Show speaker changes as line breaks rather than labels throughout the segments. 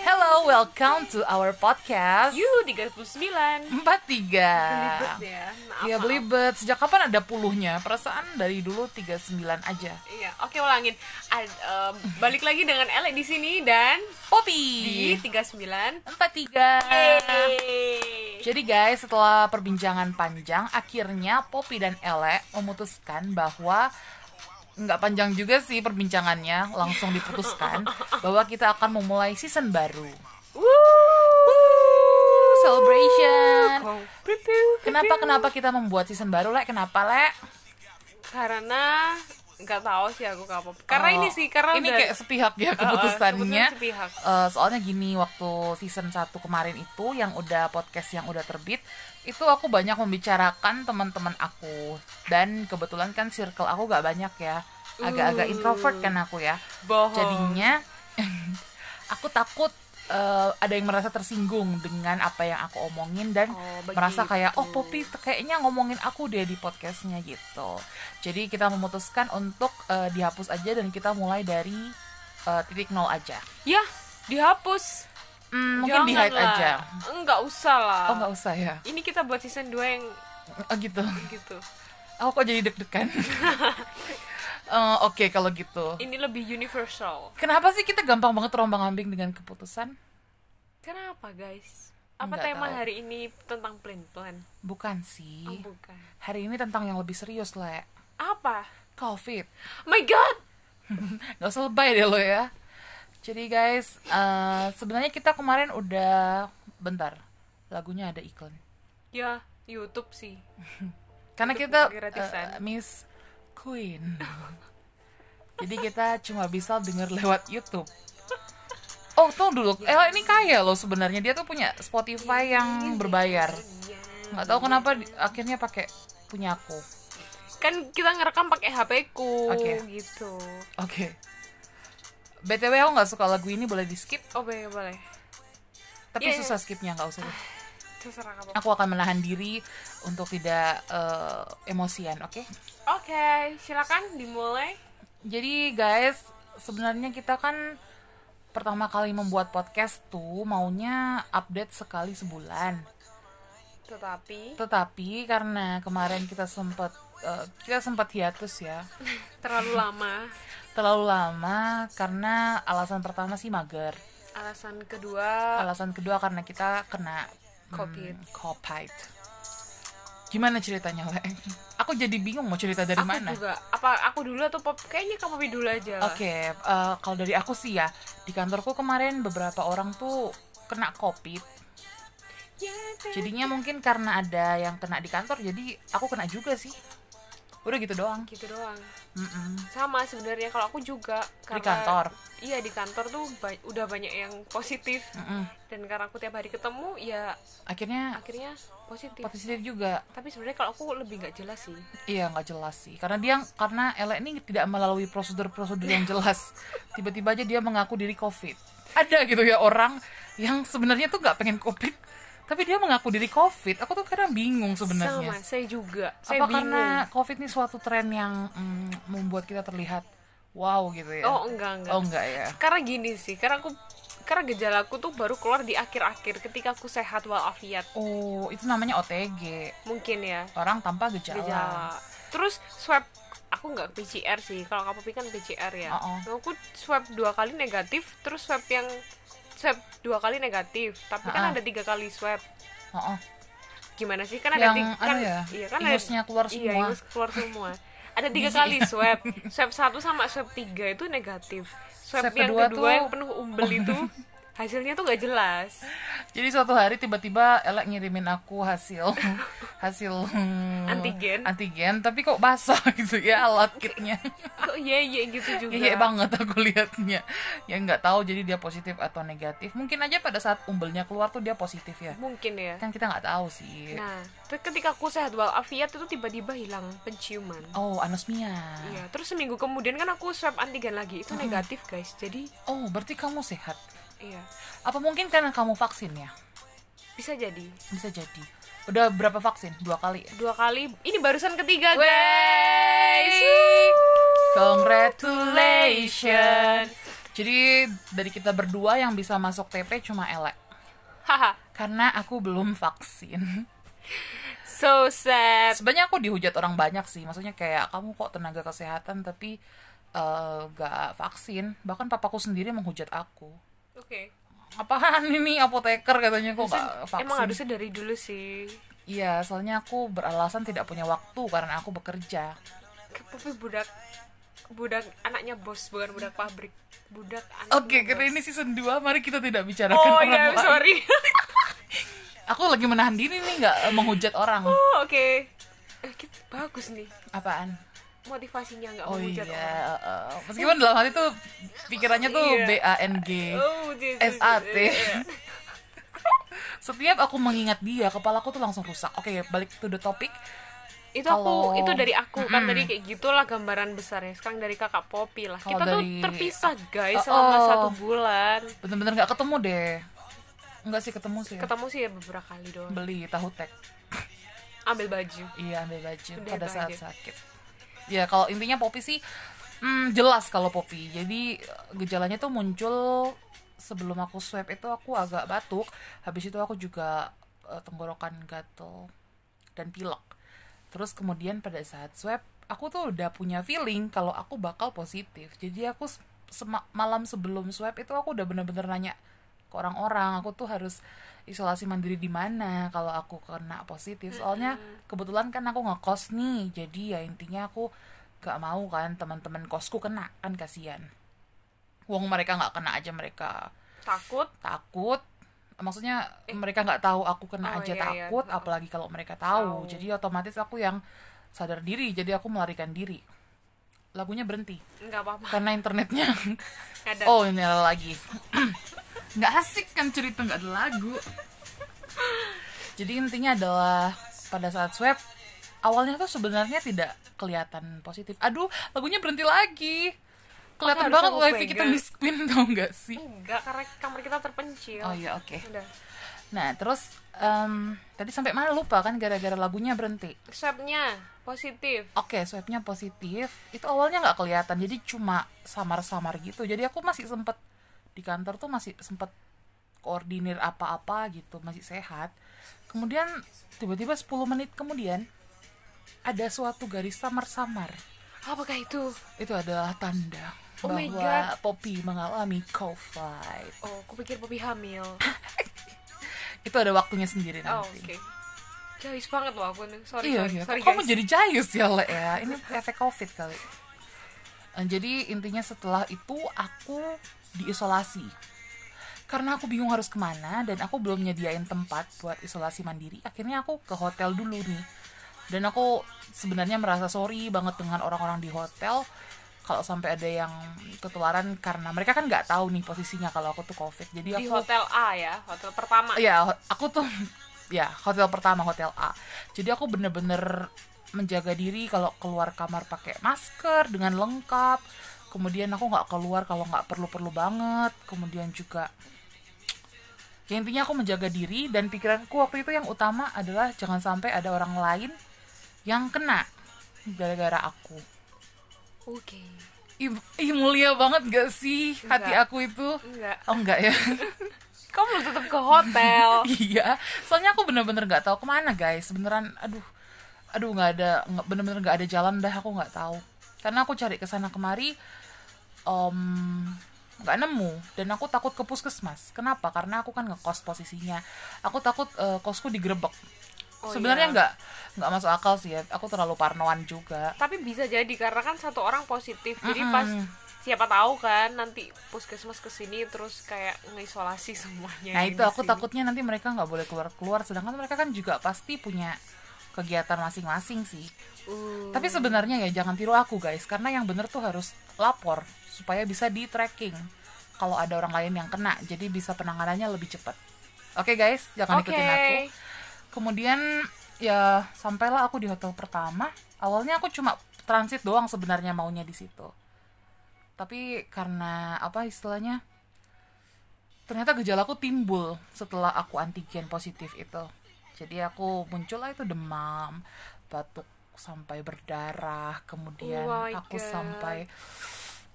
Hello, welcome to our podcast
Yuh, 39
43
Belibet ya. Maaf,
Ya
maaf.
belibet, sejak kapan ada puluhnya? Perasaan dari dulu 39 aja
Iya, oke ulangin. Ad- em, balik lagi dengan Ele di sini dan di
Poppy
39.
43
Yeay.
Jadi guys, setelah perbincangan panjang, akhirnya Poppy dan Ele memutuskan bahwa nggak panjang juga sih perbincangannya, langsung diputuskan bahwa kita akan memulai season baru. Woo, Celebration.
Kong, piu, piu.
Kenapa kenapa kita membuat season baru, Le? Kenapa, Le?
Karena nggak tahu sih aku apa. Karena
Oh,
ini sih karena
ini
udah-
kayak sepihak ya
keputusan
keputusannya.
sepihak.
Eh, soalnya gini waktu season 1 kemarin itu yang udah podcast yang udah terbit itu aku banyak membicarakan teman-teman aku dan kebetulan kan circle aku gak banyak ya. Agak-agak
Uh.
introvert kan aku ya.
bohong.
Jadinya aku takut eh, ada yang merasa tersinggung dengan apa yang aku omongin dan
Oh, begitu.
merasa kayak oh Poppy t- kayaknya ngomongin aku deh di podcastnya gitu. Jadi kita memutuskan untuk eh, dihapus aja dan kita mulai dari eh, titik nol aja.
ya dihapus.
Hmm, mungkin di hide
Janganlah.
aja.
Enggak usah lah.
Oh nggak usah ya?
Ini kita buat season 2 yang
Oh, gitu.
gitu.
Aku kok jadi deg-degan. Eh, Oke kalau gitu.
Ini lebih universal.
Kenapa sih kita gampang banget terombang ambing dengan keputusan?
Kenapa, guys? Apa
Nggak
tema
tahu.
hari ini tentang plan-plan?
Bukan
Oh,
sih.
bukan.
Hari ini tentang yang lebih serius le.
Apa?
COVID.
My god.
Gak usah lebay deh lo ya. Jadi guys, eh, sebenarnya kita kemarin udah bentar lagunya ada iklan.
Ya, YouTube sih.
Karena
Untuk
kita
gratisan.
eh, Miss Queen. Jadi kita cuma bisa denger lewat YouTube. Oh, tuh dulu. Ella ini kaya loh sebenarnya. Dia tuh punya
Iya,
Spotify yang berbayar. Nggak tahu kenapa di- akhirnya pakai punya aku.
Kan kita ngerekam pakai HP ku
Oke.
gitu.
Oke. BTW aku nggak suka lagu ini boleh di skip,
Oh, boleh, boleh.
tapi
Iya, iya.
susah skipnya nggak usah. deh.
Terserah kamu. Oke,
Aku akan menahan diri untuk tidak eh, emosian, oke?
silakan dimulai.
Jadi guys, sebenarnya kita kan pertama kali membuat podcast tuh maunya update sekali sebulan.
Tetapi
Tetapi karena kemarin kita sempat eh, kita sempat hiatus ya.
terlalu lama.
Terlalu lama karena alasan pertama sih mager.
Alasan kedua,
Alasan kedua karena kita kena hmm,
Covid.
Covid. Gimana ceritanya, Le? Aku jadi bingung mau cerita dari
aku
mana.
juga. Apa aku dulu atau pop? Kayaknya kamu dulu aja. lah.
Oke, eh, kalau dari aku sih ya di kantorku kemarin beberapa orang tuh kena covid.
Ya, teh.
Jadinya mungkin karena ada yang kena di kantor, jadi aku kena juga sih. Udah gitu doang.
gitu doang.
Mm-mm.
Sama sebenarnya kalau aku juga
Di
karena
kantor.
Iya, di kantor tuh ba- udah banyak yang positif.
Mm-mm.
Dan karena aku tiap hari ketemu, ya
Akhirnya
akhirnya positif.
positif juga.
tapi sebenarnya kalau aku lebih nggak jelas sih
Iya nggak jelas sih. Karena dia karena Ella ini tidak melalui prosedur-prosedur yang jelas. Tiba-tiba aja dia mengaku diri covid. Ada gitu ya orang yang sebenarnya tuh nggak pengen covid, tapi dia mengaku diri covid. Aku tuh kadang bingung sebenarnya.
sama saya juga saya
apa
bingung.
karena covid ini suatu tren yang mm, membuat kita terlihat wow gitu ya
oh enggak enggak
Oh, enggak ya
karena gini sih karena aku karena gejalaku tuh baru keluar di akhir-akhir ketika aku sehat walafiat
oh itu namanya OTG
mungkin ya
orang tanpa gejala,
gejala terus swab aku nggak PCR sih kalau kamu pikir kan PCR ya
Oh, oh.
Nah, aku swab dua kali negatif terus swab yang swab dua kali negatif tapi
Ah, ah.
kan ada tiga kali swab
Oh, oh.
gimana sih kan ada
Yang
tiga
anu
kan
ya,
iya kan
ingusnya keluar
iya,
semua.
ingus keluar semua ada tiga kali swab swab satu sama swab tiga itu negatif swab,
Swab
yang
kedua
kedua,
tuh-
yang penuh umbel itu hasilnya tuh nggak jelas
jadi suatu hari tiba-tiba Ella ngirimin aku hasil hasil hmm,
Antigen.
antigen tapi kok basah gitu ya alat kitnya
kok iya iya gitu juga
Iya banget aku lihatnya ya nggak tahu jadi dia positif atau negatif mungkin aja pada saat umbelnya keluar tuh dia positif ya
mungkin ya
kan kita nggak tahu sih
nah terus ketika aku sehat walafiat itu tiba-tiba hilang penciuman
oh anosmia
iya terus seminggu kemudian kan aku swab antigen lagi itu negatif guys jadi
oh berarti kamu sehat
iya
Apa mungkin karena kamu vaksin ya?
bisa jadi
Bisa jadi. Udah berapa vaksin? Dua kali ya?
dua kali ini barusan ketiga guys
Wey! Congratulations. Jadi dari kita berdua yang bisa masuk TP cuma Elek
Haha,
karena aku belum vaksin.
so sad.
Sebenarnya aku dihujat orang banyak sih, maksudnya kayak kamu kok tenaga kesehatan tapi eh, gak vaksin. Bahkan papaku sendiri menghujat aku.
Oke.
Apaan ini apoteker katanya kok gak vaksin?
Emang harusnya dari dulu sih.
Iya, soalnya aku beralasan tidak punya waktu karena aku bekerja.
Tapi budak budak anaknya bos bukan budak pabrik. Budak anak.
Oke, karena ini season 2, mari kita tidak bicarakan
Oh ya,
orang lain.
sorry.
iya, Aku lagi menahan diri nih nggak eh, menghujat orang.
oh, oke. Eh, kita- bagus nih
Apaan?
motivasinya nggak
Oh
menghujat orang.
iya, eh, meskipun dalam hati tuh pikirannya tuh
Iya.
B A N G.
Oh, iya. dia- dia-
SAT.
dia- dia-
Setiap aku mengingat dia, kepalaku tuh langsung rusak. Oke, balik to the topic.
itu aku
Kalau-
itu dari aku kan tadi kayak gitulah gambaran besarnya sekarang dari kakak Popi lah kita
Kalau
tuh
dari-
terpisah guys
Oh,
selama
oh.
satu bulan
Bener-bener nggak ketemu deh. Enggak sih ketemu sih. ya.
ketemu sih ya beberapa kali doang
Beli tahu tek.
ambil baju
Iya ambil baju
Udah
pada
itu
saat
aja.
sakit. Ya kalau intinya Poppy sih mm, jelas kalau Poppy. Jadi eh, gejalanya tuh muncul sebelum aku swab itu aku agak batuk. Habis itu aku juga eh, tenggorokan gatel dan pilek. Terus kemudian pada saat swab aku tuh udah punya feeling kalau aku bakal positif. Jadi aku se- sema- malam sebelum swab itu aku udah bener-bener nanya ke orang-orang aku tuh harus isolasi mandiri di mana kalau aku kena positif soalnya kebetulan kan aku ngekos nih jadi ya intinya aku gak mau kan teman-teman kosku kena kan kasihan wong mereka nggak kena aja mereka
takut
takut maksudnya mereka nggak tahu aku kena
Eh. Oh, iya,
aja
iya.
takut apalagi kalau mereka tahu
Tahu.
jadi otomatis aku yang sadar diri jadi aku melarikan diri lagunya berhenti
nggak apa-apa
karena internetnya
nggak ada
Oh nyala lagi Nggak asik kan cerita nggak ada lagu Jadi intinya adalah pada saat swab Awalnya tuh sebenarnya tidak kelihatan positif Aduh lagunya berhenti lagi
Oke,
Kelihatan
Oh, harusnya
banget
aku
wifi kita
pegang.
miss queen tau nggak sih
nggak karena kamar kita terpencil
Oh iya oke
udah
Nah terus em, Tadi sampai mana lupa kan gara-gara lagunya berhenti
swabnya positif
Oke, swabnya positif. Itu awalnya nggak kelihatan, jadi cuma samar-samar gitu. Jadi aku masih sempet di kantor tuh masih sempet koordinir apa-apa gitu, masih sehat. Kemudian tiba-tiba 10 menit kemudian ada suatu garis samar-samar.
apakah itu
Itu adalah tanda
Oh my
bahwa Poppy mengalami COVID.
oh aku pikir Popi hamil
Itu ada waktunya sendiri
oh,
nanti.
oke jauh banget loh aku nih sorry
Iya,
sorry,
iya.
sorry
Kok kamu
guys.
jadi jayus ya, Le ya? Ini efek COVID kali. Eh, Jadi intinya setelah itu aku diisolasi. Karena aku bingung harus kemana dan aku belum nyediain tempat buat isolasi mandiri, akhirnya aku ke hotel dulu nih. Dan aku sebenarnya merasa sorry banget dengan orang-orang di hotel kalau sampai ada yang ketularan karena mereka kan nggak tahu nih posisinya kalau aku tuh covid. Jadi
di
aku
hotel A ya hotel pertama
ya ho- aku tuh ya hotel pertama hotel A jadi aku bener-bener menjaga diri kalau keluar kamar pakai masker dengan lengkap kemudian aku nggak keluar kalau nggak perlu-perlu banget kemudian juga ya intinya aku menjaga diri dan pikiranku waktu itu yang utama adalah jangan sampai ada orang lain yang kena gara-gara aku
oke
ih, ih, mulia banget gak sih hati
Enggak.
aku itu
enggak
oh enggak ya
kamu tetap ke hotel
iya soalnya aku bener-bener nggak tahu kemana guys beneran aduh aduh nggak ada nggak- bener-bener nggak ada jalan dah aku nggak tahu karena aku cari ke sana kemari om nggak nemu dan aku takut ke puskesmas kenapa karena aku kan ngekos posisinya aku takut eh, kosku digerebek
Oh,
sebenarnya
iya.
nggak nggak masuk akal sih ya aku terlalu parnoan juga
tapi bisa jadi karena kan satu orang positif jadi
Mm-mm.
pas siapa tahu kan nanti puskesmas kesini terus kayak ngisolasi semuanya Iya
Nah
yang
itu
di
aku
sini.
takutnya nanti mereka nggak boleh keluar-keluar Sedangkan mereka kan juga pasti punya kegiatan masing-masing sih
Uh,
Tapi sebenarnya ya jangan tiru aku guys Karena yang bener tuh harus lapor Supaya bisa di tracking Kalau ada orang lain yang kena Jadi bisa penanganannya lebih cepat Oke guys jangan
oke
ikutin aku Kemudian ya sampailah aku di hotel pertama Awalnya aku cuma transit doang sebenarnya maunya di situ Tapi karena apa istilahnya Ternyata gejalaku timbul setelah aku antigen positif itu Jadi aku muncullah itu demam Batuk sampai berdarah Kemudian
Oh my
aku
God.
sampai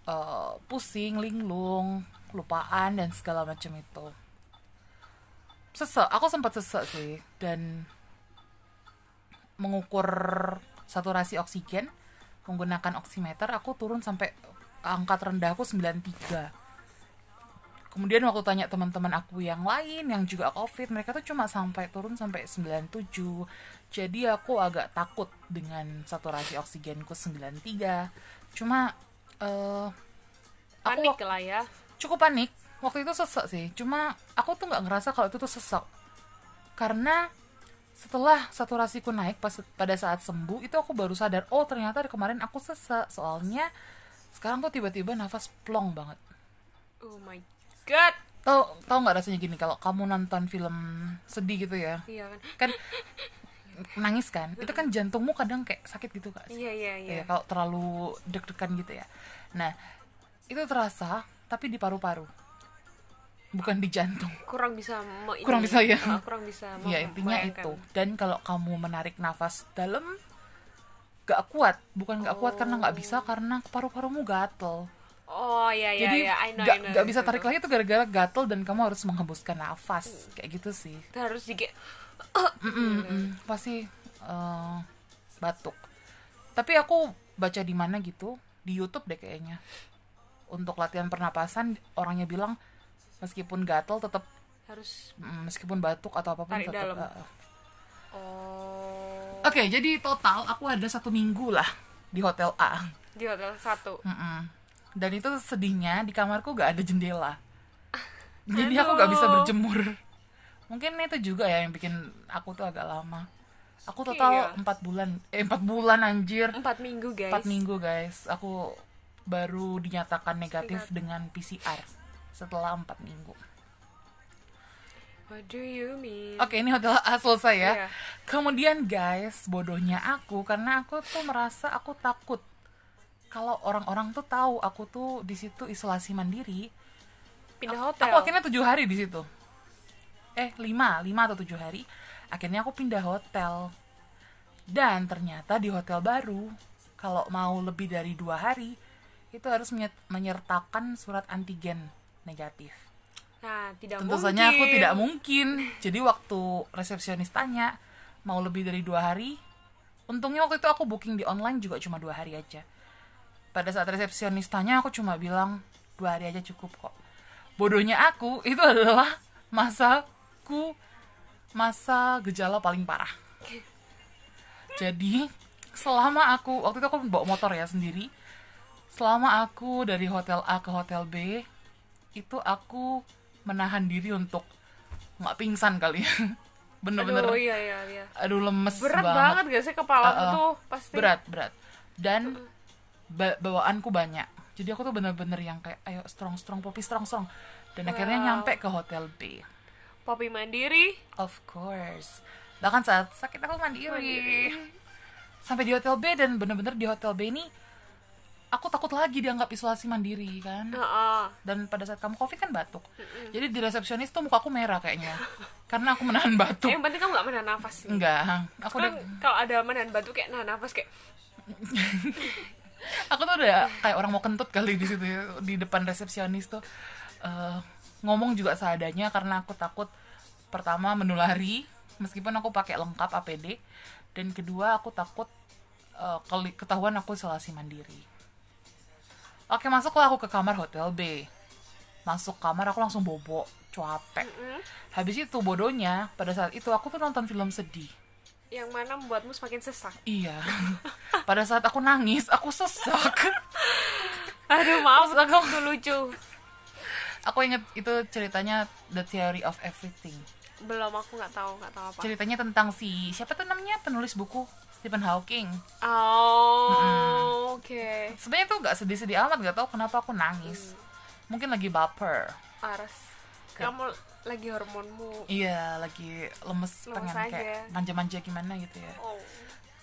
eh, pusing, linglung, lupaan dan segala macam itu. Sesek, aku sempat sesek sih dan mengukur saturasi oksigen menggunakan oximeter aku turun sampai angka terendah aku 93 kemudian waktu tanya teman-teman aku yang lain yang juga covid mereka tuh cuma sampai turun sampai 97 jadi aku agak takut dengan saturasi oksigenku 93 cuma eh aku
panik
wak-
lah ya
cukup panik waktu itu sesek sih cuma aku tuh nggak ngerasa kalau itu tuh sesek karena setelah saturasiku naik pas pada saat sembuh itu aku baru sadar oh ternyata dari kemarin aku sesek soalnya sekarang tuh tiba-tiba nafas plong banget
oh my god
tau tau nggak rasanya gini kalau kamu nonton film sedih gitu ya
iya kan
kan nangis kan itu kan jantungmu kadang kayak sakit gitu kak
iya iya iya
ya kalau terlalu deg-degan gitu ya nah itu terasa tapi di paru-paru bukan di jantung
kurang bisa me-
Kurang
ini,
bisa, ya.
ah, kurang bisa mem-
ya intinya
membayangkan.
itu dan kalau kamu menarik nafas dalam gak kuat bukan gak kuat karena gak bisa karena paru-parumu gatel
oh iya Oh. iya
jadi
iya I know,
gak,
I know,
gak
I
bisa
know.
tarik lagi itu gara-gara gatel dan kamu harus menghembuskan
Hmm.
nafas kayak gitu sih
harus dikit Iya,
Mm-mm, pasti eh, batuk. Tapi aku baca di mana gitu di YouTube deh kayaknya. Untuk latihan pernapasan orangnya bilang meskipun gatel tetap
harus
mm, meskipun batuk atau apapun
Tarik
tetap.
dalam.
eh,
oh
Oke jadi total aku ada satu minggu lah di hotel A.
di hotel satu
Mm-mm. Dan itu sedihnya di kamarku gak ada jendela. Jadi aku gak bisa
Aduh.
berjemur. Mungkin itu juga ya yang bikin aku tuh agak lama. Aku total
Iya.
empat bulan, eh 4 bulan anjir.
empat minggu guys
4 Hmm. minggu guys. Aku baru dinyatakan
Iya.
negatif dengan PCR setelah 4 minggu.
what do you mean
Oke, ini hotel A selesai ya.
Iya.
Kemudian guys, bodohnya aku karena aku tuh merasa aku takut kalau orang-orang tuh tahu aku tuh di situ isolasi mandiri.
pindah hotel
Aku akhirnya tujuh hari di situ. Eh, lima, lima atau tujuh hari. Akhirnya aku pindah hotel. Dan ternyata di hotel baru, kalau mau lebih dari dua hari, itu harus menyet- menyertakan surat antigen negatif.
nah tidak
Tentu
mungkin
saja aku tidak mungkin. Jadi waktu resepsionis tanya mau lebih dari dua hari, untungnya waktu itu aku booking di online juga cuma dua hari aja. Pada saat resepsionis tanya aku cuma bilang dua hari aja cukup kok. Bodohnya aku itu adalah masaku masa gejala paling parah. Jadi selama aku waktu itu aku bawa motor ya sendiri, selama aku dari hotel A ke hotel B itu aku menahan diri untuk nggak pingsan kali ya bener-bener
Aduh,
aduh,
iya iya iya
lemes
berat
banget,
banget gak sih kepala aku
Uh-uh.
tuh pasti
berat berat dan ba- bawaanku banyak jadi aku tuh bener-bener yang kayak ayo strong strong popi strong strong dan akhirnya
Wow.
nyampe ke hotel B
Popi mandiri
of course bahkan saat sakit aku mandiri, sampai di hotel B dan bener-bener di hotel B ini aku takut lagi dianggap isolasi mandiri kan
Heeh.
dan pada saat kamu covid kan batuk jadi di resepsionis tuh muka aku merah kayaknya karena aku
Eh,
menahan batuk
yang penting kamu gak menahan nafas sih.
enggak aku udah
Kan kalau ada menahan batu kayak nahan nafas kayak
aku tuh udah kayak orang mau kentut kali di situ ya, di depan resepsionis tuh Eh, ngomong juga seadanya karena aku takut pertama menulari meskipun aku pakai lengkap APD dan kedua aku takut eh, keli- ketahuan aku isolasi mandiri oke masuklah aku ke kamar hotel B masuk kamar aku langsung bobo capek
"Mm-mm."
habis itu bodohnya pada saat itu aku tuh nonton film sedih
yang mana membuatmu semakin sesak.
iya pada saat aku nangis aku sesak
Aduh, maaf aku tuh lucu.
aku inget itu ceritanya The Theory of Everything
Belum aku nggak tahu, nggak tahu apa.
ceritanya tentang si siapa tuh namanya penulis buku Stephen Hawking
Oh, oke.
sebenarnya tuh gak sedih-sedih amat gak tau kenapa aku nangis mungkin lagi baper
Aras. Kamu lagi hormonmu.
Ya. iya lagi lemes,
Lemes
pengen kayak
aja.
manja-manja gimana gitu ya
Oh,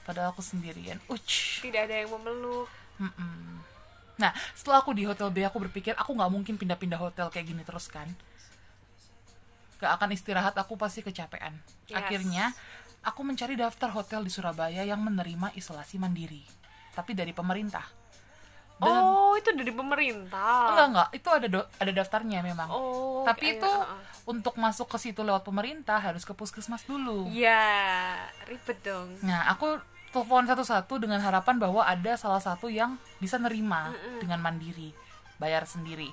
padahal aku sendirian uch
tidak ada yang memeluk.
Mm-mm. nah setelah aku di hotel B aku berpikir aku nggak mungkin pindah-pindah hotel kayak gini terus kan gak akan istirahat aku pasti kecapean
Yes.
akhirnya aku mencari daftar hotel di Surabaya yang menerima isolasi mandiri tapi dari pemerintah Dan-
oh itu dari pemerintah
enggak enggak itu ada do- ada daftarnya memang
oh
tapi
kayak-
itu
ah, ah.
untuk masuk ke situ lewat pemerintah harus ke puskesmas dulu
ya ribet dong
Nah, aku telepon satu-satu dengan harapan bahwa ada salah satu yang bisa nerima dengan mandiri, bayar sendiri.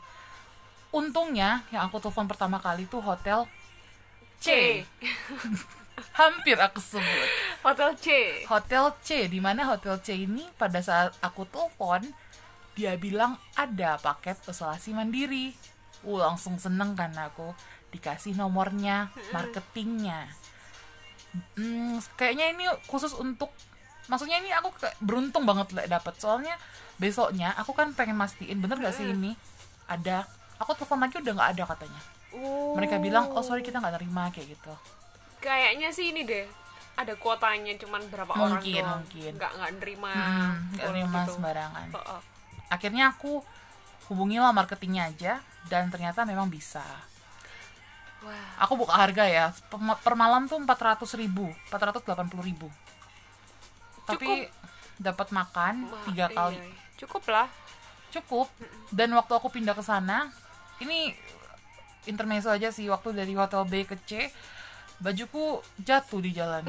Untungnya yang aku telepon pertama kali itu hotel C. Hampir aku sebut.
hotel C
Hotel C, di mana hotel C ini pada saat aku telepon dia bilang ada paket isolasi mandiri. Uh, langsung seneng kan aku dikasih nomornya, marketingnya. Hmm, kayaknya ini khusus untuk maksudnya ini aku kayak beruntung banget lah dapet soalnya besoknya aku kan pengen mastiin bener gak sih ini ada aku telepon lagi udah nggak ada katanya
Oh.
mereka bilang oh sorry kita nggak terima kayak gitu
kayaknya sih ini deh ada kuotanya cuman berapa orang
Mungkin,
doang
mungkin.
nggak nggak nerima
Hmm, nggak
full
terima
Ah, gitu.
sembarangan
Oh, oh.
akhirnya aku hubungilah marketingnya aja dan ternyata memang bisa
wah
aku buka harga ya pem- per malam tuh 400 ribu 480 ribu tapi dapat makan
wah,
tiga
iya,
kali
iya. cukup lah
cukup dan waktu aku pindah ke sana ini intermezzo aja sih waktu dari hotel B ke C bajuku jatuh di jalan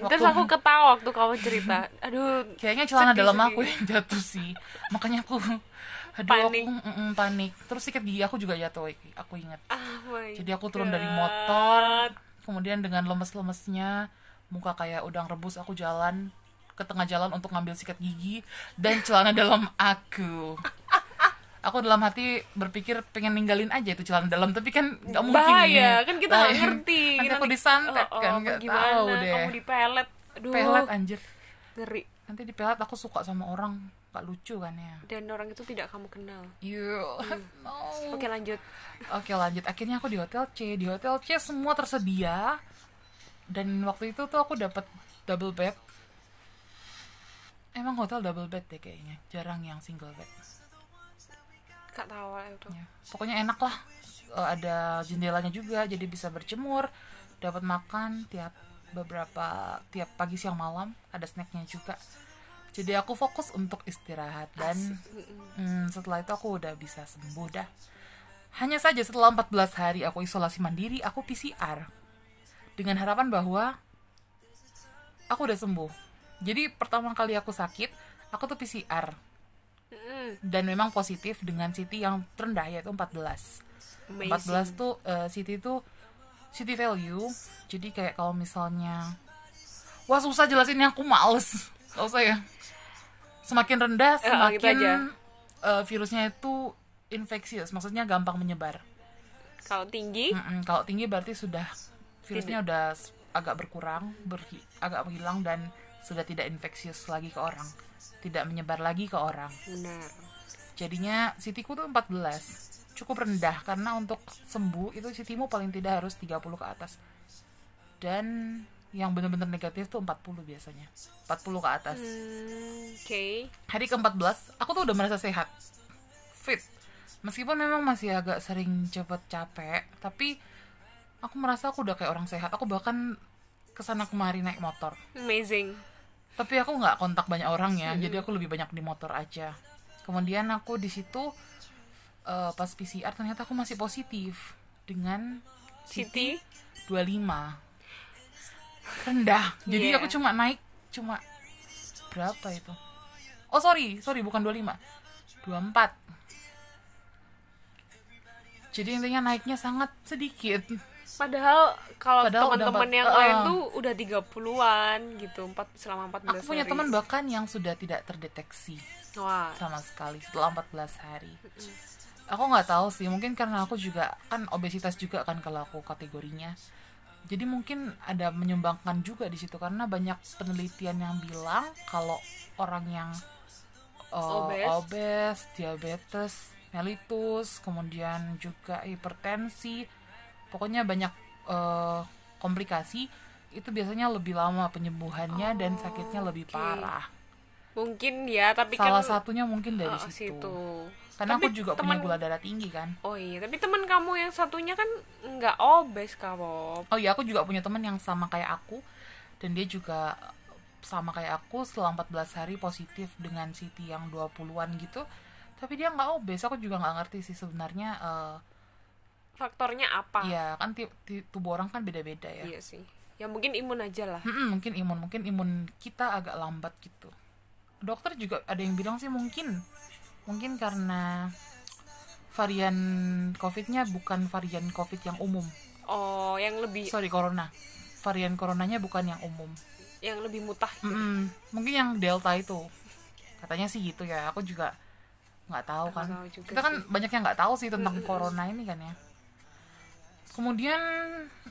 terus aku ketawa waktu kamu cerita aduh
kayaknya celana
Sedih,
dalam
sedih.
aku yang jatuh sih makanya aku aduh
Panik.
aku mm, mm, panik terus sikat gigi aku juga jatuh Iki. aku ingat
oh my
jadi aku turun dari
God.
motor kemudian dengan lemes-lemesnya muka kayak udang rebus aku jalan ke tengah jalan untuk ngambil sikat gigi dan celana dalam aku aku dalam hati berpikir pengen ninggalin aja itu celana dalam tapi kan nggak mungkin
bahaya
nih.
kan kita nggak
Bahaya.
ngerti
nanti aku
Nanti-
disantet
Oh, oh,
kan
apa
nggak
gimana
tahu deh
kamu dipelet aduh
pelet anjir
ngeri
nanti dipelet aku suka sama orang nggak lucu kan ya
dan orang itu tidak kamu kenal
you no
oke lanjut
Oke lanjut, akhirnya aku di hotel C Di hotel C semua tersedia Dan waktu itu tuh aku dapat double bed Emang hotel double bed deh kayaknya Jarang yang single bed
kak tahu lah itu
Ya, Pokoknya enak lah Eh, Ada jendelanya juga jadi bisa berjemur Dapat makan tiap beberapa tiap pagi siang malam ada snacknya juga jadi aku fokus untuk istirahat dan
Mm-mm.
Hmm, setelah itu aku udah bisa sembuh dah. Hanya saja setelah 14 hari aku isolasi mandiri, aku PCR. Dengan harapan bahwa aku udah sembuh. Jadi pertama kali aku sakit, aku tuh PCR.
Mm-mm.
Dan memang positif dengan CT yang terendah yaitu 14.
Amazing.
14 tuh eh, CT tuh CT value. Jadi kayak kalau misalnya... Wah susah jelasinnya, aku males. Gak usah ya. Semakin rendah,
Eh, eh, gitu
semakin
aja.
eh, virusnya itu infeksius. Maksudnya gampang menyebar.
kalau tinggi
Mm-mm, kalau tinggi berarti sudah virusnya udah s- agak berkurang, berhi- agak menghilang dan sudah tidak infeksius lagi ke orang, tidak menyebar lagi ke orang.
benar
Jadinya CT-ku tuh 14, cukup rendah karena untuk sembuh itu CT-mu paling tidak harus 30 ke atas. Dan yang benar-benar negatif tuh 40 biasanya. 40 ke atas.
Hmm, oke
Hari ke-14, aku tuh udah merasa sehat. Fit. Meskipun memang masih agak sering cepet capek, tapi aku merasa aku udah kayak orang sehat. Aku bahkan kesana kemari naik motor.
amazing
Tapi aku nggak kontak banyak orang ya, jadi aku lebih banyak di motor aja. Kemudian aku di situ eh, pas PCR ternyata aku masih positif dengan
Siti
25 rendah jadi
Iya.
aku cuma naik cuma berapa itu oh sorry sorry bukan 25 24 jadi intinya naiknya sangat sedikit
padahal kalau
Padahal udah
teman-teman
empat-
yang
eh,
lain
eh.
tuh udah 30-an gitu empat selama 14
aku punya
hari.
teman bahkan yang sudah tidak terdeteksi
wah
sama sekali setelah 14 hari aku nggak tahu sih mungkin karena aku juga kan obesitas juga kan kalau aku kategorinya jadi mungkin ada menyumbangkan juga di situ karena banyak penelitian yang bilang kalau orang yang uh,
Obes.
obes, diabetes, mellitus, kemudian juga hipertensi, pokoknya banyak uh, komplikasi itu biasanya lebih lama penyembuhannya dan sakitnya lebih
Oh, oke.
parah.
mungkin ya tapi
Salah
kan
satunya mungkin dari
Oh,
situ.
situ.
Karena
Tapi
aku juga
teman-
punya gula darah tinggi kan.
Oh iya, tapi teman kamu yang satunya kan nggak obes kamu.
Oh iya, aku juga punya teman yang sama kayak aku dan dia juga sama kayak aku setelah 14 hari positif dengan CT yang 20-an gitu. Tapi dia nggak obes, aku juga nggak ngerti sih sebenarnya. eh,
Faktornya apa?
Iya kan ti- ti- tubuh orang kan beda-beda ya.
Iya sih. Ya mungkin imun aja lah.
Mm-mm, mungkin imun, mungkin imun kita agak lambat gitu. Dokter juga ada yang bilang sih mungkin, mungkin karena varian COVID-nya bukan varian COVID yang umum.
Oh, yang lebih
Sorry corona, varian coronanya bukan yang umum.
yang lebih mutah.
Mm-mm, mungkin yang delta itu, katanya sih gitu ya. Aku juga nggak tahu
Nggak
kan.
tahu juga
Kita kan banyak yang nggak tahu sih tentang corona ini kan ya. Kemudian,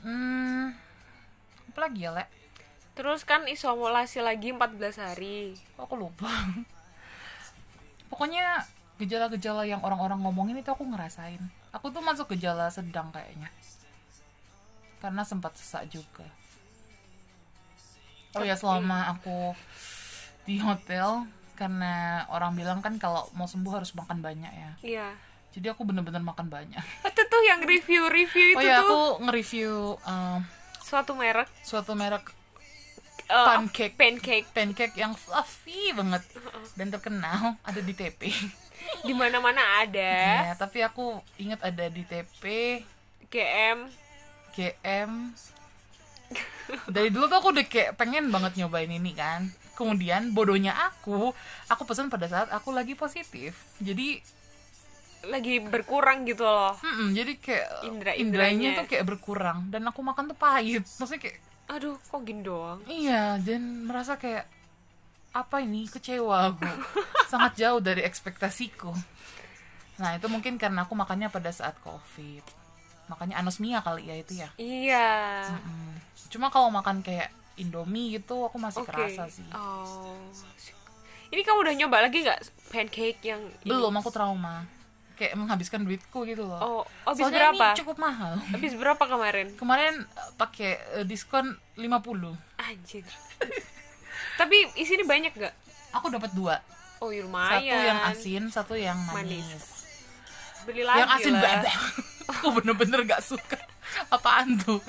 mm, apa lagi ya, Lek?
Terus kan isolasi lagi 14 hari.
Kok aku lupa pokoknya gejala-gejala yang orang-orang ngomongin itu aku ngerasain aku tuh masuk gejala sedang kayaknya karena sempat sesak juga oh ya selama aku di hotel karena orang bilang kan kalau mau sembuh harus makan banyak ya
Iya.
jadi aku bener-bener makan banyak
Itu tuh yang review-review
oh
itu tuh
ya aku nge-review um,
suatu merek
suatu merek
eh,
Pancake.
pancake
pancake yang fluffy banget
Uh-uh.
dan terkenal ada di TP
di mana-mana ada.
Iya, tapi aku ingat ada di TP,
GM
GM. Dari dulu tuh aku udah kayak pengen banget nyobain ini kan. Kemudian bodohnya aku, aku pesan pada saat aku lagi positif. Jadi,
lagi berkurang gitu loh.
mm-mm, jadi kayak
Indra- indranya.
indranya tuh kayak berkurang dan aku makan tuh pahit. Maksudnya kayak
Aduh, kok gini doang?
iya dan merasa kayak apa ini kecewa aku. Sangat jauh dari ekspektasiku. Nah, itu mungkin karena aku makannya pada saat Covid. Makanya anosmia kali ya itu ya.
Iya.
Mm. Cuma kalau makan kayak Indomie gitu aku masih
Oke.
kerasa sih.
Oh. Ini kamu udah nyoba lagi nggak pancake yang ini?
Belum aku trauma. Kayak menghabiskan duitku gitu loh.
Oh, habis
Soalnya
berapa?
ini cukup mahal.
Habis berapa kemarin?
Kemarin eh, pakai eh, diskon 50.
Anjir. Tapi isinya banyak gak?
Aku dapat dua.
Oh, ya lumayan.
Satu yang asin, satu yang manis.
Manis. Beli lagi
yang asin
lah.
bebek. aku bener-bener gak suka. Apaan tuh?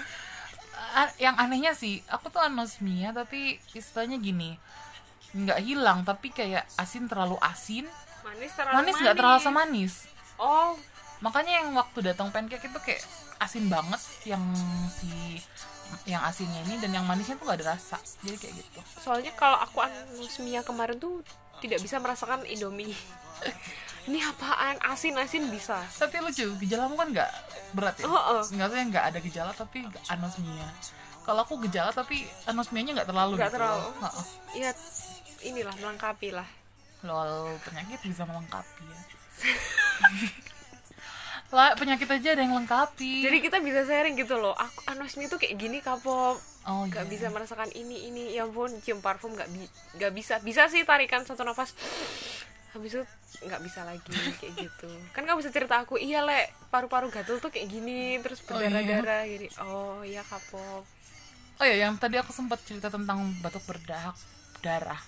A- yang anehnya sih, aku tuh anosmia tapi istilahnya gini. Nggak hilang tapi kayak asin terlalu asin,
Manis terlalu
manis nggak terlalu manis.
Oh,
makanya yang waktu datang pancake itu kayak asin banget yang si yang asinnya ini dan yang manisnya tuh gak ada rasa jadi kayak gitu
soalnya kalau aku anosmia kemarin tuh tidak bisa merasakan Indomie. Ini apaan? Asin-asin bisa.
tapi lucu gejalamu kan nggak berat ya
Oh, oh.
nggak sih nggak ada gejala tapi anosmia kalau aku gejala tapi anosmianya nggak terlalu
Nggak
gitu
terlalu.
loh. Oh, oh.
Ya inilah melengkapi lah.
lol penyakit bisa melengkapi ya lah penyakit aja ada yang lengkapi
Jadi kita bisa sharing gitu loh. Aku anosmia tuh kayak gini kapok.
oh
Gak
iya.
bisa merasakan ini ini. Ya ampun, cium parfum gak, bi- nggak bisa. Bisa sih tarikan satu nafas. Habis itu nggak bisa lagi kayak gitu. Kan kamu bisa cerita aku, iya le, paru-paru gatel tuh kayak gini, terus
Oh, iya.
berdarah-darah gini. Oh iya kapok.
Oh ya, yang tadi aku sempat cerita tentang batuk berdahak darah.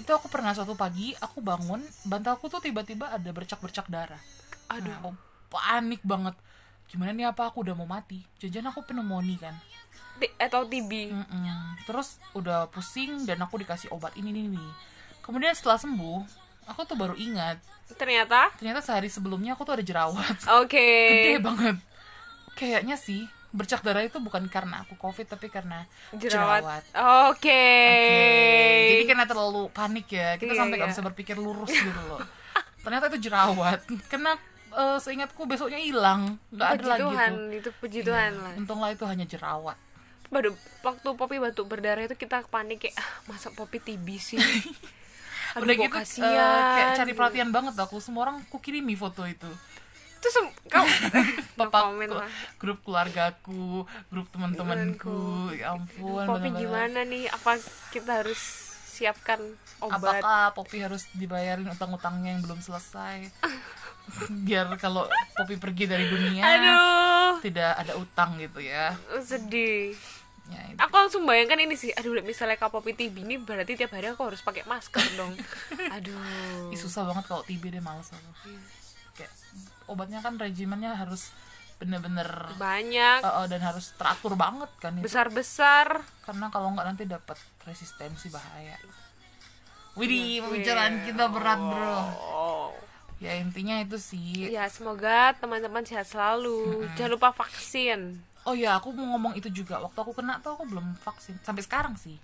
Itu aku pernah suatu pagi aku bangun, bantalku tuh tiba-tiba ada bercak-bercak darah.
Aduh.
Nah, aku panik banget. Gimana nih apa aku udah mau mati? Jajan aku pneumonia kan.
Ti- eh, atau
Hmm.
TB
Mm-mm. Terus udah pusing dan aku dikasih obat ini ini ini. Kemudian setelah sembuh, aku tuh baru ingat
ternyata
ternyata sehari sebelumnya aku tuh ada jerawat.
oke
Gede banget. Kayaknya sih bercak darah itu bukan karena aku covid tapi karena
jerawat
jerawat.
oke
Oke, Jadi kan karena terlalu panik ya, kita
Iya,
sampai nggak
iya.
bisa berpikir lurus gitu loh. Ternyata itu jerawat. Karena eh, seingatku besoknya hilang, nggak ada
puji
lagi
gitu,
Iya.
Tuhan
itu.
itu puji Tuhan lah
Untunglah itu hanya jerawat.
pada waktu Poppy batuk berdarah itu kita panik kayak ah, masa Poppy TB sih Aduh,
Udah
kok
gitu eh,
kasihan.
kayak cari perhatian banget aku. Semua orang ku kirimi foto itu.
terus em- kamu no
Papa
comment lah
grup keluargaku, grup teman-temanku. Ya ampun,
Poppy
bener-bener.
gimana nih apa kita harus siapkan obat
Apakah Poppy harus dibayarin utang-utangnya yang belum selesai? Biar kalau Poppy pergi dari dunia,
aduh
tidak ada utang gitu ya.
sedih
Ya, itu.
aku langsung bayangkan ini sih aduh misalnya Kak Poppy TB ini berarti tiap hari aku harus pakai masker dong aduh
Ih, susah banget kalau TB deh males aku. Kayak obatnya kan regimennya harus bener-bener
banyak
eh, eh, dan harus teratur banget kan itu.
besar besar
Karena kalau nggak nanti dapat resistensi bahaya. Widih, pembicaraan kita berat bro. ya intinya itu sih
Ya, semoga teman-teman sehat selalu. Jangan lupa vaksin.
oh ya aku mau ngomong itu juga waktu aku kena tuh aku belum vaksin sampai sekarang sih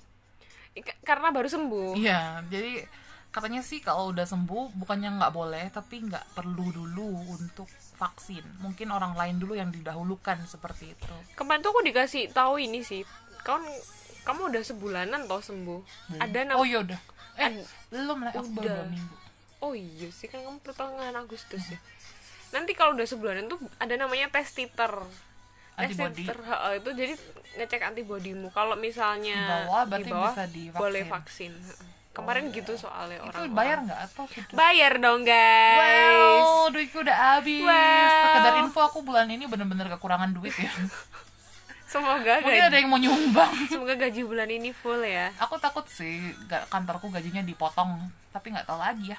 Ika- Karena baru sembuh.
Iya, jadi katanya sih kalau udah sembuh bukannya nggak boleh, tapi nggak perlu dulu untuk vaksin. Mungkin orang lain dulu yang didahulukan seperti itu.
Kemarin tuh aku dikasih tahu ini sih. Kan kamu udah sebulanan toh sembuh. Ada nam-
Oh iya udah. Eh,
Ad-
belum lah, aku baru
udah.
dua minggu.
Oh iya sih kan kamu pertengahan Agustus ya. Nanti kalau udah sebulanan tuh ada namanya tes titer. Tes
Antibody.
titer heeh, itu jadi ngecek antibodimu. Kalau misalnya
Di bawah, berarti
di bawah,
bisa divaksin. Oh, iya.
boleh vaksin. Heeh. Kemarin gitu soalnya
Itu
orang.
bayar nggak atau gitu?
Bayar dong guys.
Wow, duitku udah habis.
Wow.
Sekedar info aku bulan ini bener-bener kekurangan duit ya.
Semoga
Mungkin ada
gaji,
yang mau nyumbang.
semoga gaji bulan ini full ya.
Aku takut sih ga- kantorku gajinya dipotong, tapi nggak tahu
Iya.
lagi ya.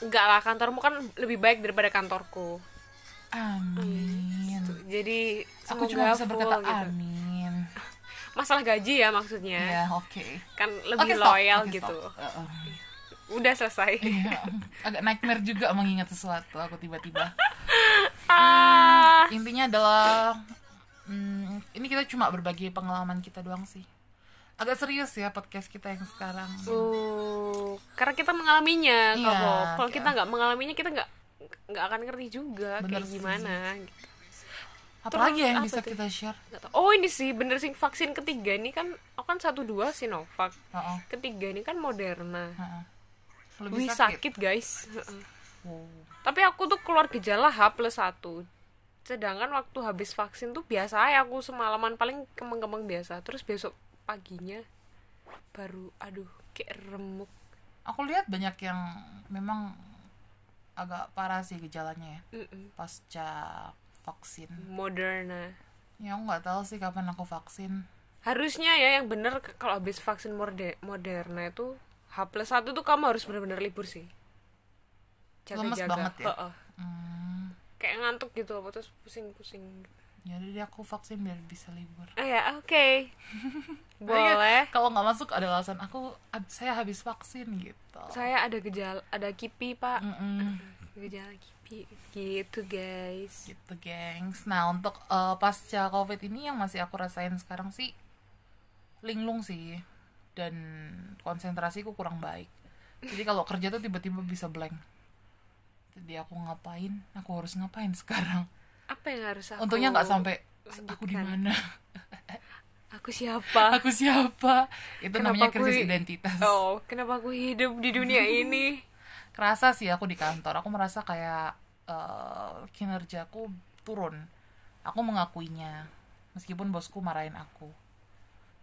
Enggak lah kantormu kan lebih baik daripada kantorku.
Amin.
Tuh, Jadi
Hmm. Aku
semoga
cuma bisa
full
berkata
gitu.
amin.
Masalah gaji ya maksudnya.
Ya, oke.
Kan lebih
Oke, stop.
loyal
Oke,
gitu.
stop. Uh-uh.
Udah selesai.
Iya. Agak nightmare juga mengingat sesuatu aku tiba-tiba.
Ah.
Intinya adalah mm, ini kita cuma berbagi pengalaman kita doang sih. Agak serius ya podcast kita yang sekarang.
Oh, karena kita mengalaminya,
Iya,
Kopo. Kalau
kita-
kita nggak mengalaminya, kita nggak nggak akan ngerti juga
Bener
kayak
sih.
gimana.
Apalagi ya yang
apa
bisa
tuh?
kita share?
Nggak tahu. Oh ini sih bener sih vaksin ketiga ini kan, aku kan satu dua Sinovac,
Uh-uh.
ketiga ini kan Moderna.
Uh-uh. Lebih
Wih
sakit.
sakit guys. Heeh.
Wow.
Tapi aku tuh keluar gejala H plus satu. Sedangkan waktu habis vaksin tuh biasa ya aku semalaman paling kemeng-kemeng biasa. Terus besok paginya baru aduh kayak remuk.
Aku lihat banyak yang memang agak parah sih gejalanya ya
Mm-mm.
pasca vaksin.
Moderna.
Ya aku nggak tahu sih kapan aku vaksin.
harusnya ya yang bener k- kalau habis vaksin morde- Moderna itu H plus satu tuh kamu harus bener-bener libur sih
Lemes banget ya?
Heeh.
Hmm,
kayak ngantuk gitu apa terus pusing-pusing
ya udah deh aku vaksin biar bisa libur. Eh,
ah ya oke boleh
Kalau nggak masuk ada alasan aku ab- saya habis vaksin gitu.
saya ada gejala ada kipi pak
Mm-mm,
gejala kipi gitu guys
gitu gengs. Nah untuk eh, pasca covid ini yang masih aku rasain sekarang sih linglung sih dan konsentrasiku kurang baik. Jadi kalau kerja tuh tiba-tiba bisa blank. Jadi aku ngapain? Aku harus ngapain sekarang?
apa yang harus aku
Untungnya nggak sampai aku di
lanjutkan.
mana,
aku siapa
aku siapa. Itu
Kenapa
namanya
aku
krisis
i-
identitas.
oh kenapa aku hidup di dunia ini
kerasa sih aku di kantor aku merasa kayak eh, kinerjaku turun aku mengakuinya meskipun bosku marahin aku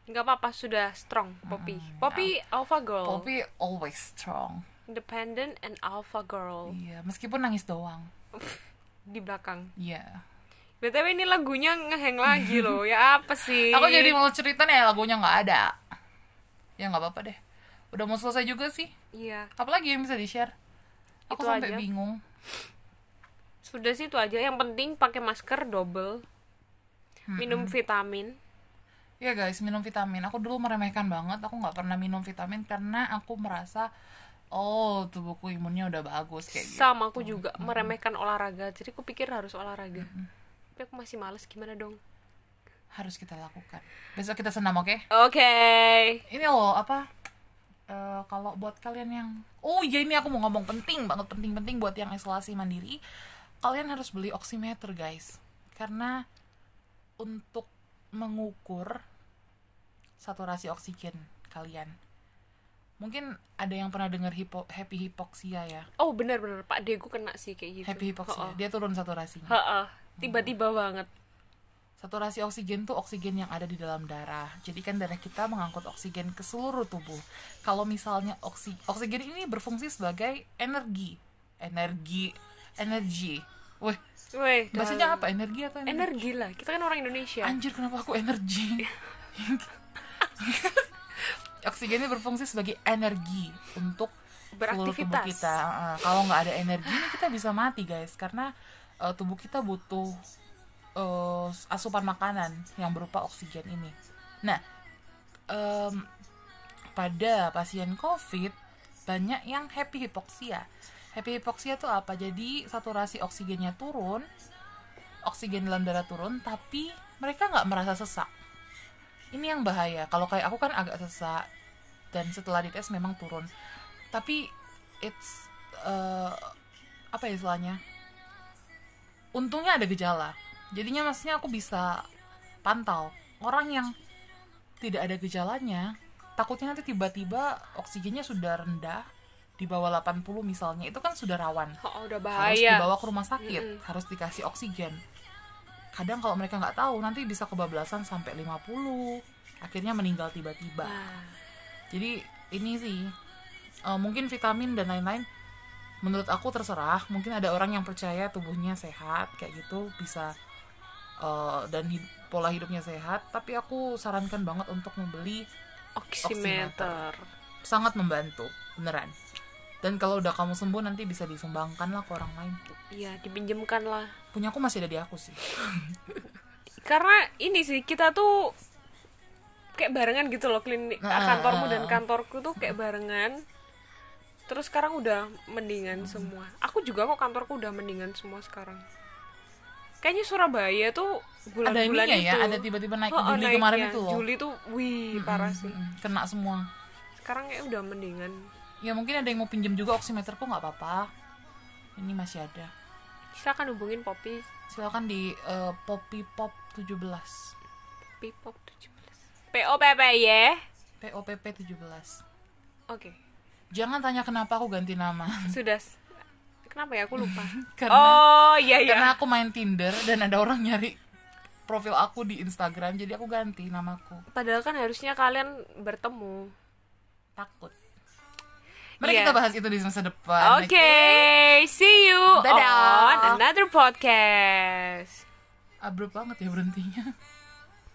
nggak apa-apa sudah strong Poppy Poppy alpha girl
Hmm. Poppy always strong
independent and alpha girl
iya meskipun nangis doang
di belakang.
iya
BTW ini lagunya ngeheng lagi loh. Ya apa sih?
aku jadi mau cerita nih lagunya nggak ada ya nggak apa-apa deh udah mau selesai juga sih
Iya,
apalagi yang bisa di share aku
Itu
sampai
aja.
bingung
sudah sih itu aja. Yang penting pakai masker double. Minum vitamin.
Iya guys, minum vitamin. Aku dulu meremehkan banget, aku nggak pernah minum vitamin karena aku merasa, oh tubuhku imunnya udah bagus kayak gitu.
Sama aku juga meremehkan olahraga. Jadi aku pikir harus olahraga. Tapi aku masih males gimana dong?
harus kita lakukan. Besok kita senam, oke?
Oke.
Ini loh apa? eh, kalau buat kalian yang oh iya ini aku mau ngomong penting banget penting-penting buat yang isolasi mandiri, kalian harus beli oximeter guys, karena untuk mengukur saturasi oksigen kalian. Mungkin ada yang pernah dengar hipo, happy hypoxia ya,
Oh, benar-benar Pak Degu kena sih kayak gitu.
happy
Heeh.
hypoxia. Dia turun saturasinya.
Heeh. Tiba-tiba banget.
Saturasi oksigen tuh oksigen yang ada di dalam darah. Jadi kan darah kita mengangkut oksigen ke seluruh tubuh. Kalau misalnya oksi- oksigen ini berfungsi sebagai energi, energi, energi. Wih,
Weh, dah.
bahasanya apa? Energi atau energi?
energi lah. Kita kan orang Indonesia.
Anjir, kenapa aku energi? Oksigennya berfungsi sebagai energi untuk seluruh tubuh
Beraktivitas.
kita. Eh, Kalau nggak ada energinya kita bisa mati guys, karena eh, tubuh kita butuh eh, asupan makanan yang berupa oksigen ini. Nah, em, pada pasien COVID banyak yang happy hypoxia. Happy hypoxia tuh apa? Jadi saturasi oksigennya turun, oksigen dalam darah turun, tapi mereka nggak merasa sesak. Ini yang bahaya. Kalau kayak aku kan agak sesak dan setelah dites memang turun. Tapi it's eh, apa ya istilahnya? Untungnya ada gejala. Jadinya maksudnya aku bisa pantau orang yang tidak ada gejalanya. Takutnya nanti tiba-tiba oksigennya sudah rendah di bawah 80 misalnya itu kan sudah rawan
Oh, udah
harus
bahaya.
dibawa ke rumah sakit, harus dikasih oksigen. Kadang kalau mereka nggak tahu nanti bisa kebablasan sampai 50, akhirnya meninggal tiba-tiba.
Nah,
Jadi ini sih eh, mungkin vitamin dan lain-lain menurut aku terserah, mungkin ada orang yang percaya tubuhnya sehat kayak gitu bisa eh, dan hid- pola hidupnya sehat, tapi aku sarankan banget untuk membeli
oximeter.
sangat membantu beneran. Dan kalau udah kamu sembuh nanti bisa disumbangkan lah ke orang lain.
Iya, dipinjemkan lah.
Punya aku masih ada di aku sih.
Karena ini sih kita tuh kayak barengan gitu loh klinik
Nah,
kantormu
ah,
dan
ah.
kantorku tuh kayak barengan. Terus sekarang udah mendingan semua. Aku juga kok kantorku udah mendingan semua sekarang. Kayaknya Surabaya tuh
ada
bulan-bulan
ininya
itu.
ya, ada tiba-tiba naik
Oh, oh,
Juli
naiknya.
kemarin itu loh.
Juli tuh wih parah sih.
Mm, Kena semua.
Sekarang kayak udah mendingan.
Ya mungkin ada yang mau pinjem juga oximeterku nggak apa-apa. Ini masih ada.
Silakan hubungin Poppy
Silakan di eh, Poppy Pop 17.
Pipop 17. P O P P Y.
POPP 17.
Oke.
Jangan tanya kenapa aku ganti nama.
Sudah. s- Kenapa ya aku lupa?
karena
oh, iya iya.
karena aku main Tinder dan ada orang nyari profil aku di Instagram jadi aku ganti namaku.
Padahal kan harusnya kalian bertemu.
Takut. Mari
Iya.
kita bahas itu di semester depan.
Oke, see you on
Dadah.
another podcast.
Abrupt banget ya berhentinya.